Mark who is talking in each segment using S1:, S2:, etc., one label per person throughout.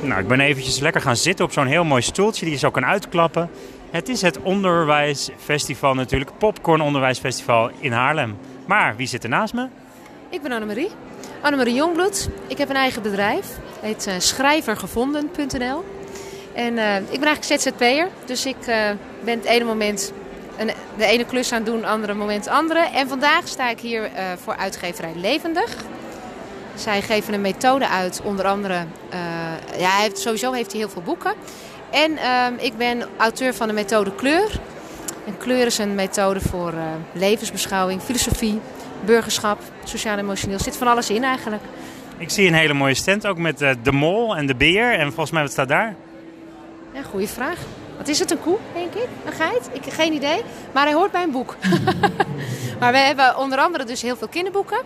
S1: Nou, ik ben eventjes lekker gaan zitten op zo'n heel mooi stoeltje die je zo kan uitklappen. Het is het onderwijsfestival natuurlijk, Popcorn Onderwijsfestival in Haarlem. Maar wie zit er naast me?
S2: Ik ben Annemarie. Annemarie Jongbloed. Ik heb een eigen bedrijf. Het heet eh, schrijvergevonden.nl. En eh, ik ben eigenlijk ZZP'er. Dus ik eh, ben het ene moment een, de ene klus aan het doen, andere moment andere. En vandaag sta ik hier eh, voor uitgeverij Levendig. Zij geven een methode uit, onder andere... eh, ja, hij heeft, sowieso heeft hij heel veel boeken. En ehm, ik ben auteur van de methode Kleur. En kleur is een methode voor eh, levensbeschouwing, filosofie, burgerschap, sociaal-emotioneel. Zit van alles in eigenlijk.
S1: Ik zie een hele mooie stand, ook met eh, de mol en de beer. En volgens mij, wat staat daar?
S2: Ja, goede vraag. Wat is het, een koe, denk ik? Een geit? Ik geen idee. Maar hij hoort bij een boek. maar we hebben onder andere dus heel veel kinderboeken.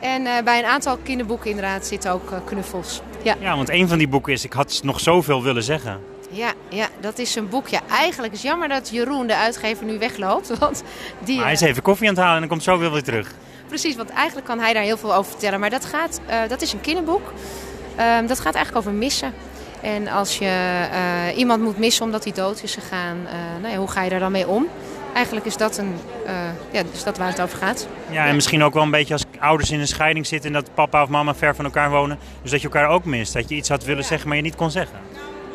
S2: En eh, bij een aantal kinderboeken inderdaad zitten ook eh, knuffels. Ja.
S1: Ja, want een van die boeken is Ik had nog zoveel willen zeggen.
S2: Ja, ja, dat is een boek. Ja, eigenlijk is het jammer dat Jeroen, de uitgever, nu wegloopt. Want die,
S1: Maar hij is
S2: eh,
S1: even koffie aan het halen en dan komt zo weer weer terug.
S2: Precies, want eigenlijk kan hij daar heel veel over vertellen. Maar dat, gaat, eh, dat is een kinderboek. Ehm, dat gaat eigenlijk over missen. En als je eh, iemand moet missen omdat hij dood is gegaan, eh, nou ja, hoe ga je daar dan mee om? Eigenlijk is dat, een, eh, ja, is dat waar het over gaat.
S1: Ja, en misschien ook wel een beetje als ouders in een scheiding zitten en dat papa of mama ver van elkaar wonen. Dus dat je elkaar ook mist. Dat je iets had willen zeggen, maar je niet kon zeggen.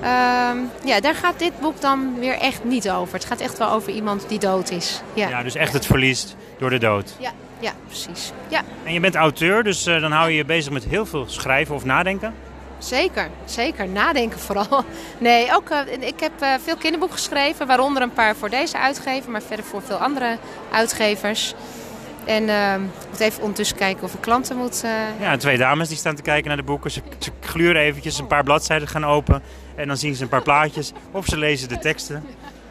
S2: Ehm, ja, daar gaat dit boek dan weer echt niet over. Het gaat echt wel over iemand die dood is. Ja, ja.
S1: Ja, dus echt het verlies door de dood.
S2: ja, precies. Ja,
S1: En je bent auteur, dus eh, dan hou je je bezig met heel veel schrijven of nadenken.
S2: zeker. Zeker. Nadenken vooral. Nee, ook, eh, ik heb eh, veel kinderboeken geschreven. Waaronder een paar voor deze uitgever. Maar verder voor veel andere uitgevers. En ehm, ik moet even ondertussen kijken of ik klanten moet... eh,
S1: Ja, twee dames die staan te kijken naar de boeken. Ze, ze gluren eventjes, een paar bladzijden gaan open. En dan zien ze een paar plaatjes. Of ze lezen de teksten.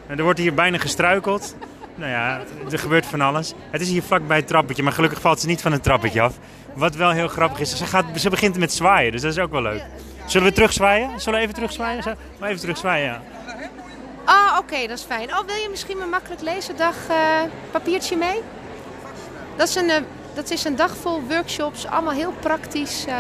S1: En er wordt hier bijna gestruikeld. Nou ja, er gebeurt van alles. Het is hier vlakbij het trappetje, maar gelukkig valt ze niet van het trappetje af. Wat wel heel grappig is, ze, gaat, ze begint met zwaaien, dus dat is ook wel leuk. Zullen we terugzwaaien? Zullen we even terugzwaaien? Zo, Maar even terugzwaaien, ja.
S2: Oh, oké, dat is fijn. Oh, wil je misschien mijn makkelijk lezen dag eh, papiertje mee? Dat is, een, eh, dat is een dag vol workshops, allemaal heel praktisch. eh.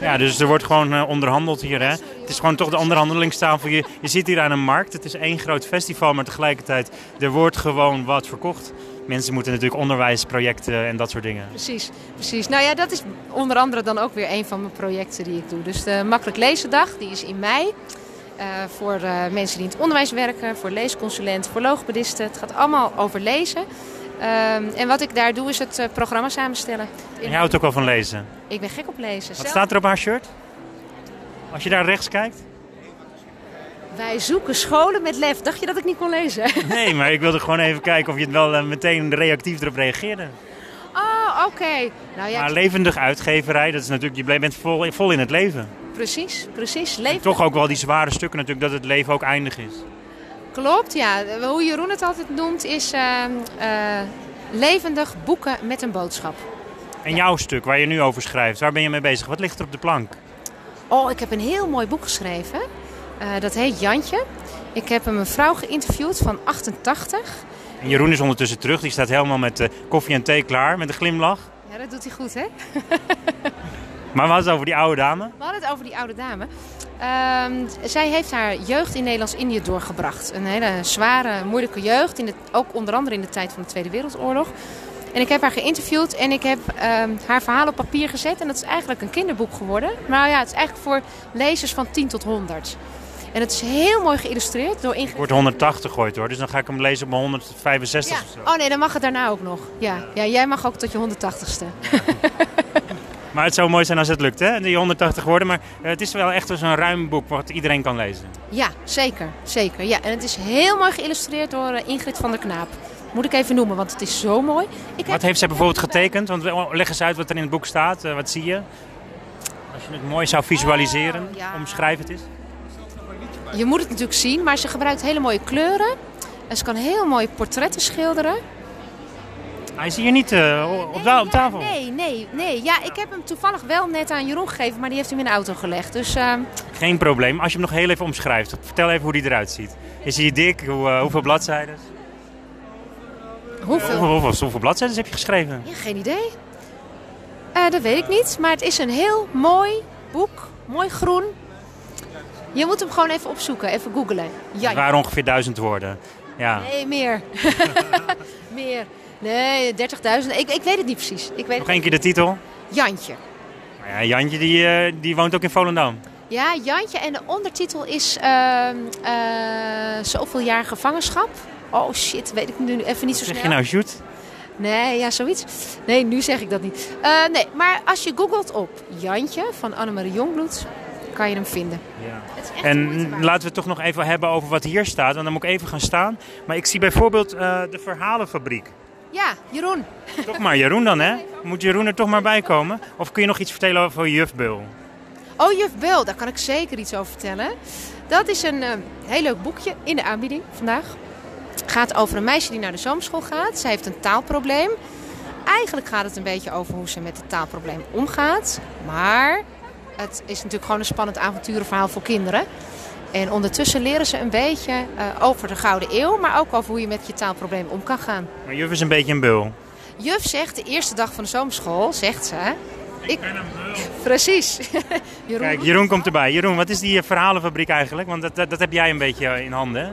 S1: Ja, dus er wordt gewoon eh, onderhandeld hier. Hè? Het is gewoon toch de onderhandelingstafel. Je, je zit hier aan een markt. Het is één groot festival, maar tegelijkertijd er wordt gewoon wat verkocht. Mensen moeten natuurlijk onderwijsprojecten en dat soort dingen.
S2: precies, precies. Nou ja, dat is onder andere dan ook weer een van mijn projecten die ik doe. Dus de makkelijk lezen dag, die is in mei. eh, voor eh, mensen die in het onderwijs werken, voor leesconsulenten, voor logopedisten. Het gaat allemaal over lezen. Ehm, en wat ik daar doe is het eh, programma samenstellen.
S1: En jij houdt ook wel van lezen.
S2: Ik ben gek op lezen.
S1: Wat
S2: Zelf-
S1: staat er op haar shirt? Als je daar rechts kijkt?
S2: Wij zoeken scholen met lef. Dacht je dat ik niet kon lezen?
S1: Nee, maar ik wilde gewoon even kijken of je het wel eh, meteen reactief erop reageerde.
S2: Oh, oké. Nou ja,
S1: Maar levendig uitgeverij, dat is natuurlijk, je ble- bent vol, vol in het leven.
S2: precies, precies. Leven.
S1: Toch ook wel die zware stukken natuurlijk, dat het leven ook eindig is.
S2: Klopt, ja. Hoe Jeroen het altijd noemt is ehm, eh, levendig boeken met een boodschap.
S1: En jouw stuk, waar je nu over schrijft, waar ben je mee bezig? Wat ligt er op de plank?
S2: Oh, ik heb een heel mooi boek geschreven. Eh, dat heet Jantje. Ik heb een vrouw geïnterviewd van 88.
S1: En Jeroen is ondertussen terug. Die staat helemaal met eh, koffie en thee klaar, met een glimlach.
S2: Ja, dat doet hij goed, hè?
S1: Maar wat is het over die oude dame?
S2: We hadden het over die oude dame. Ehm, zij heeft haar jeugd in Nederlands-Indië doorgebracht. Een hele zware, moeilijke jeugd. In de, ook onder andere in de tijd van de Tweede Wereldoorlog. En ik heb haar geïnterviewd en ik heb ehm, haar verhaal op papier gezet. En dat is eigenlijk een kinderboek geworden. Maar ja, het is eigenlijk voor lezers van 10 tot 100. En het is heel mooi geïllustreerd door Ingrid...
S1: Ik word 180 gegooid hoor, dus dan ga ik hem lezen op mijn 165
S2: Ja.
S1: of zo.
S2: Oh nee, dan mag het daarna ook nog. Ja, ja jij mag ook tot je 180ste.
S1: Maar het zou mooi zijn als het lukt, hè? Die 180 woorden. Maar eh, het is wel echt zo'n ruim boek wat iedereen kan lezen.
S2: Ja, zeker. zeker. Ja, en het is heel mooi geïllustreerd door eh, Ingrid van der Knaap. Moet ik even noemen, want het is zo mooi. Ik
S1: Wat heeft zij bijvoorbeeld getekend? Want we- leg eens uit wat er in het boek staat. Eh, wat zie je? Als je het mooi zou visualiseren,
S2: Oh, ja.
S1: omschrijf het eens.
S2: Je moet het natuurlijk zien, maar ze gebruikt hele mooie kleuren. En ze kan heel mooie portretten schilderen.
S1: Hij is hier niet eh, op, da- op
S2: ja,
S1: tafel.
S2: nee, nee, nee. Ja, ik heb hem toevallig wel net aan Jeroen gegeven, maar die heeft hem in de auto gelegd. Dus ehm,
S1: Geen probleem. Als je hem nog heel even omschrijft, vertel even hoe die eruit ziet. Is hij dik? Hoe, eh, hoeveel bladzijden?
S2: hoeveel?
S1: Hoeveel, hoeveel, hoeveel bladzijden heb je geschreven?
S2: Ja, geen idee. Eh, dat weet ik niet, maar het is een heel mooi boek. Mooi groen. Je moet hem gewoon even opzoeken, even googlen. Ja,
S1: Het waren ongeveer duizend woorden. Ja.
S2: Nee, meer. meer. Nee, 30.000. Ik, ik weet het niet precies. Ik
S1: Nog
S2: weet het-
S1: één keer de titel.
S2: Jantje.
S1: Nou Ja, Jantje die, eh, die woont ook in Volendam.
S2: Ja, Jantje. En de ondertitel is ehm, eh, Zoveel jaar gevangenschap. Oh shit, weet ik nu even niet zo
S1: Zeg
S2: snel.
S1: je nou shoot?
S2: Nee, ja, zoiets. Nee, nu zeg ik dat niet. Eh, nee, maar als je googelt op Jantje van Annemarie Jongbloed, kan je hem vinden.
S1: Ja.
S2: Het is echt moeite
S1: En
S2: waard.
S1: laten we het toch nog even hebben over wat hier staat. Want dan moet ik even gaan staan. Maar ik zie bijvoorbeeld eh, de verhalenfabriek.
S2: Ja, Jeroen.
S1: Toch maar Jeroen dan, hè? Moet Jeroen er toch maar bij komen? Of kun je nog iets vertellen over Jufbul?
S2: Oh, Juf Bul, daar kan ik zeker iets over vertellen. Dat is een eh, heel leuk boekje in de aanbieding vandaag. Gaat over een meisje die naar de zomerschool gaat. Zij heeft een taalprobleem. Eigenlijk gaat het een beetje over hoe ze met het taalprobleem omgaat. Maar het is natuurlijk gewoon een spannend avonturenverhaal voor kinderen. En ondertussen leren ze een beetje eh, over de Gouden Eeuw, maar ook over hoe je met je taalprobleem om kan gaan.
S1: Maar Juf is een beetje een bul.
S2: Juf zegt de eerste dag van de zomerschool, zegt ze. Ik
S1: ben een bul.
S2: Precies. Jeroen
S1: Kijk,
S2: roept
S1: Jeroen
S2: het
S1: komt
S2: al.
S1: erbij. Jeroen, wat is die eh, verhalenfabriek eigenlijk? Want dat, dat, dat heb jij een beetje eh, in handen, hè?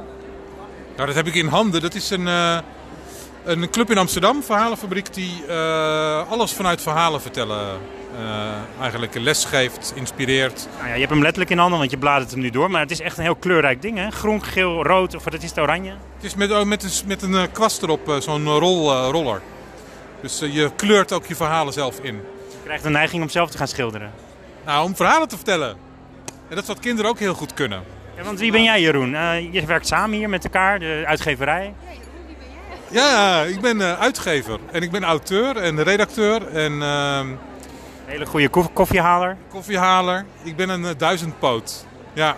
S3: Nou, dat heb ik in handen. Dat is een, eh, een club in Amsterdam, verhalenfabriek, die eh, alles vanuit verhalen vertellen. eh, eigenlijk les geeft, inspireert.
S1: Nou ja, je hebt hem letterlijk in handen, want je bladert hem nu door. Maar het is echt een heel kleurrijk ding, hè? Groen, geel, rood, of dat is het oranje.
S3: Het is met, oh, met een, s- met een eh, kwast erop, eh, zo'n rol, eh, roller. Dus eh, je kleurt ook je verhalen zelf in.
S1: Je krijgt een neiging om zelf te gaan schilderen.
S3: Nou, om verhalen te vertellen. En dat is wat kinderen ook heel goed kunnen.
S1: Ja, want wie ben jij, Jeroen? Eh, je werkt samen hier met elkaar, de uitgeverij.
S3: Ja, ik ben eh, uitgever. En ik ben auteur en redacteur en ehm,
S1: Een hele goede kof- koffiehaler.
S3: koffiehaler. Ik ben een eh, duizendpoot. Ja.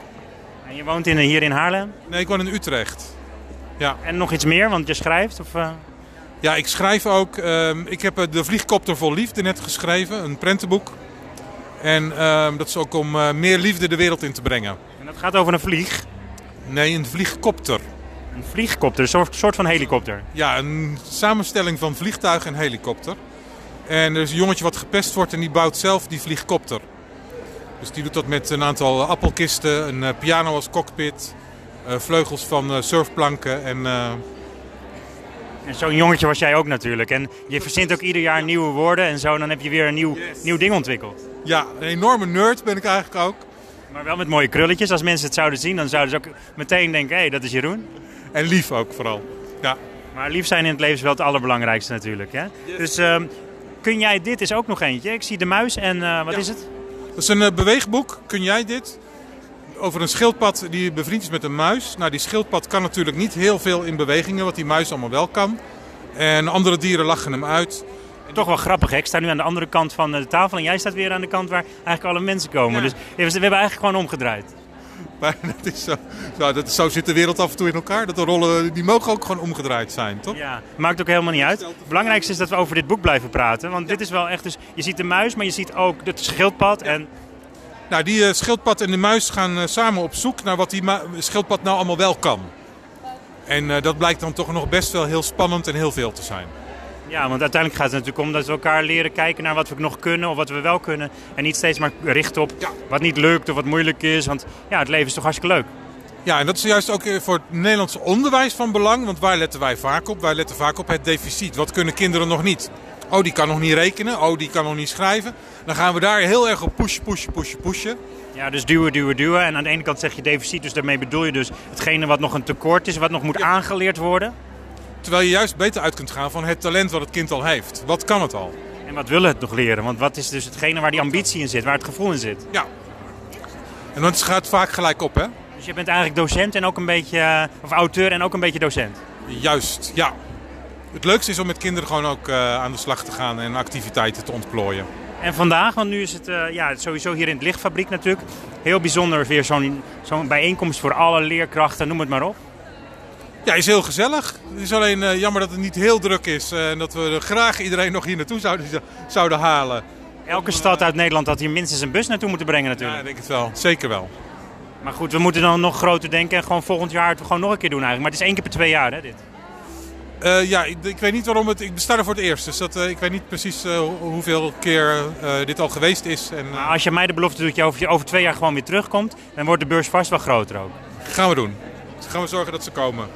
S1: En je woont in, eh, hier in Haarlem.
S3: Nee, ik woon in Utrecht.
S1: En nog iets meer, want je schrijft? Of, eh,
S3: Ja, ik schrijf ook. ehm, ik heb eh, De Vliegkopter vol Liefde net geschreven, een prentenboek. En ehm, dat is ook om eh, meer liefde de wereld in te brengen.
S1: En dat gaat over een vlieg.
S3: Nee, een vliegkopter.
S1: Een vliegkopter, een soort, soort van helikopter.
S3: Ja, een samenstelling van vliegtuig en helikopter. En er is een jongetje wat gepest wordt en die bouwt zelf die vliegkopter. Dus die doet dat met een aantal appelkisten, een eh, piano als cockpit, eh, vleugels van eh, surfplanken en... eh,
S1: En zo'n jongetje was jij ook natuurlijk. En je verzint ook ieder jaar nieuwe woorden en zo. Dan heb je weer een nieuw,
S3: Yes.
S1: nieuw ding ontwikkeld.
S3: ja, een enorme nerd ben ik eigenlijk ook.
S1: Maar wel met mooie krulletjes. Als mensen het zouden zien, dan zouden ze ook meteen denken... hé, hey, dat is Jeroen.
S3: En lief ook vooral. Ja.
S1: Maar lief zijn in het leven is wel het allerbelangrijkste natuurlijk. Hè? Dus ehm, kun jij... Dit is ook nog eentje. Ik zie de muis en eh, wat
S3: Ja.
S1: is het?
S3: Dat is een eh, beweegboek, kun jij dit? Over een schildpad die bevriend is met een muis. Nou, die schildpad kan natuurlijk niet heel veel in bewegingen, wat die muis allemaal wel kan. En andere dieren lachen hem uit.
S1: Toch wel grappig, hè? Ik sta nu aan de andere kant van eh, de tafel en jij staat weer aan de kant waar eigenlijk alle mensen komen.
S3: Ja.
S1: Dus we hebben eigenlijk gewoon omgedraaid.
S3: Maar dat is zo, nou, dat, zo zit de wereld af en toe in elkaar. Dat de rollen, die mogen ook gewoon omgedraaid zijn, toch?
S1: Ja, maakt ook helemaal niet uit. Het belangrijkste is dat we over dit boek blijven praten. Want dit is wel echt, dus je ziet de muis, maar je ziet ook het schildpad. En
S3: Nou, die eh, schildpad en de muis gaan eh, samen op zoek naar wat die ma- schildpad nou allemaal wel kan. En eh, dat blijkt dan toch nog best wel heel spannend en heel veel te zijn.
S1: ja, want uiteindelijk gaat het natuurlijk om dat we elkaar leren kijken naar wat we nog kunnen of wat we wel kunnen. En niet steeds maar richten op
S3: Ja.
S1: wat niet lukt of wat moeilijk is. Want ja, het leven is toch hartstikke leuk.
S3: Ja, en dat is juist ook eh, voor het Nederlandse onderwijs van belang. Want waar letten wij vaak op? Wij letten vaak op het deficit. Wat kunnen kinderen nog niet? Oh, die kan nog niet rekenen. Oh, die kan nog niet schrijven. Dan gaan we daar heel erg op pushen, pushen, pushen, pushen.
S1: Ja, dus duwen, duwen, duwen. En aan de ene kant zeg je deficit, dus daarmee bedoel je dus hetgene wat nog een tekort is, wat nog moet aangeleerd worden.
S3: Terwijl je juist beter uit kunt gaan van het talent wat het kind al heeft. Wat kan het al?
S1: En wat wil het nog leren? Want wat is dus hetgene waar die ambitie in zit, waar het gevoel in zit?
S3: Ja. En dat gaat vaak gelijk op, hè?
S1: Dus je bent eigenlijk docent en ook een beetje, eh, of auteur en ook een beetje docent.
S3: Juist, ja. Het leukste is om met kinderen gewoon ook eh, aan de slag te gaan en activiteiten te ontplooien.
S1: En vandaag, want nu is het eh, ja, sowieso hier in het lichtfabriek natuurlijk. Heel bijzonder weer zo'n zo'n bijeenkomst voor alle leerkrachten, noem het maar op.
S3: Ja, is heel gezellig. Het is alleen eh, jammer dat het niet heel druk is eh, en dat we er graag iedereen nog hier naartoe zouden, zouden halen.
S1: Elke stad uit Nederland had hier minstens een bus naartoe moeten brengen
S3: Ja, ik
S1: natuurlijk.
S3: denk het wel. Zeker wel.
S1: Maar goed, we moeten dan nog groter denken en gewoon volgend jaar het gewoon nog een keer doen eigenlijk. Maar het is één keer per twee jaar hè, dit.
S3: Eh, Eh, ja, ik, ik weet niet waarom het. Ik besta er voor het eerst. Dus dat, eh, ik weet niet precies eh, hoe- hoeveel keer eh, dit al geweest is. En eh,
S1: Maar Nou, als je mij de belofte doet dat je over, je over twee jaar gewoon weer terugkomt, dan wordt de beurs vast wel groter ook.
S3: gaan we doen. Dus gaan we zorgen dat ze komen.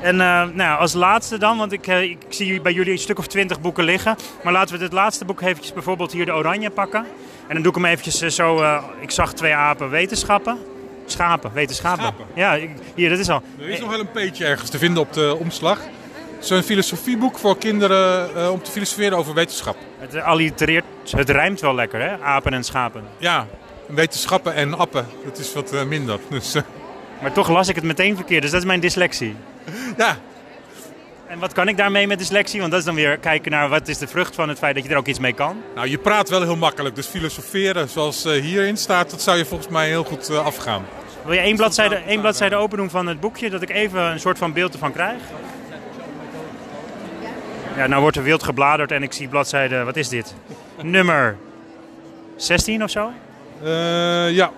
S1: En eh, nou, ja, als laatste dan, want ik, eh, ik zie bij jullie een stuk of twintig boeken liggen. Maar laten we het laatste boek eventjes bijvoorbeeld hier de oranje pakken. En dan doe ik hem eventjes eh, zo. eh, ik zag twee apen wetenschappen. Schapen, wetenschappen.
S3: Schapen.
S1: Ja, ik- hier, dat is al.
S3: Er is nog wel een peetje ergens te vinden op de omslag. Zo'n filosofieboek voor kinderen eh, om te filosoferen over wetenschap.
S1: Het eh, allitereert, het rijmt wel lekker hè, apen en schapen.
S3: Ja, wetenschappen en appen. Dat is wat eh, minder. Dus eh,
S1: Maar toch las ik het meteen verkeerd, dus dat is mijn dyslexie.
S3: ja,
S1: En wat kan ik daarmee met dyslexie? Want dat is dan weer kijken naar wat is de vrucht van het feit dat je er ook iets mee kan.
S3: nou je praat wel heel makkelijk. Dus filosoferen zoals eh, hierin staat, dat zou je volgens mij heel goed eh, afgaan.
S1: Wil je één bladzijde, één bladzijde open doen van het boekje, dat ik even een soort van beeld ervan krijg? Ja, nou wordt er wild gebladerd en ik zie bladzijde, wat is dit? Nummer 16 of zo?
S3: Eh, ja,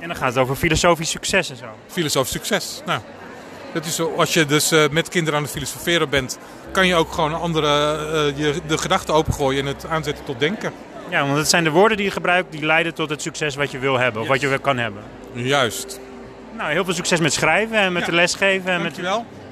S1: En dan gaat het over filosofisch succes en zo.
S3: filosoof succes. Nou, dat is zo. Als je dus eh, met kinderen aan het filosoferen bent, kan je ook gewoon andere, eh, je, de gedachten opengooien en het aanzetten tot denken.
S1: Ja, want het zijn de woorden die je gebruikt die leiden tot het succes wat je wil hebben of wat je wel kan hebben.
S3: Juist.
S1: Nou, heel veel succes met schrijven en met
S3: Ja.
S1: de lesgeven en met
S3: Dankjewel.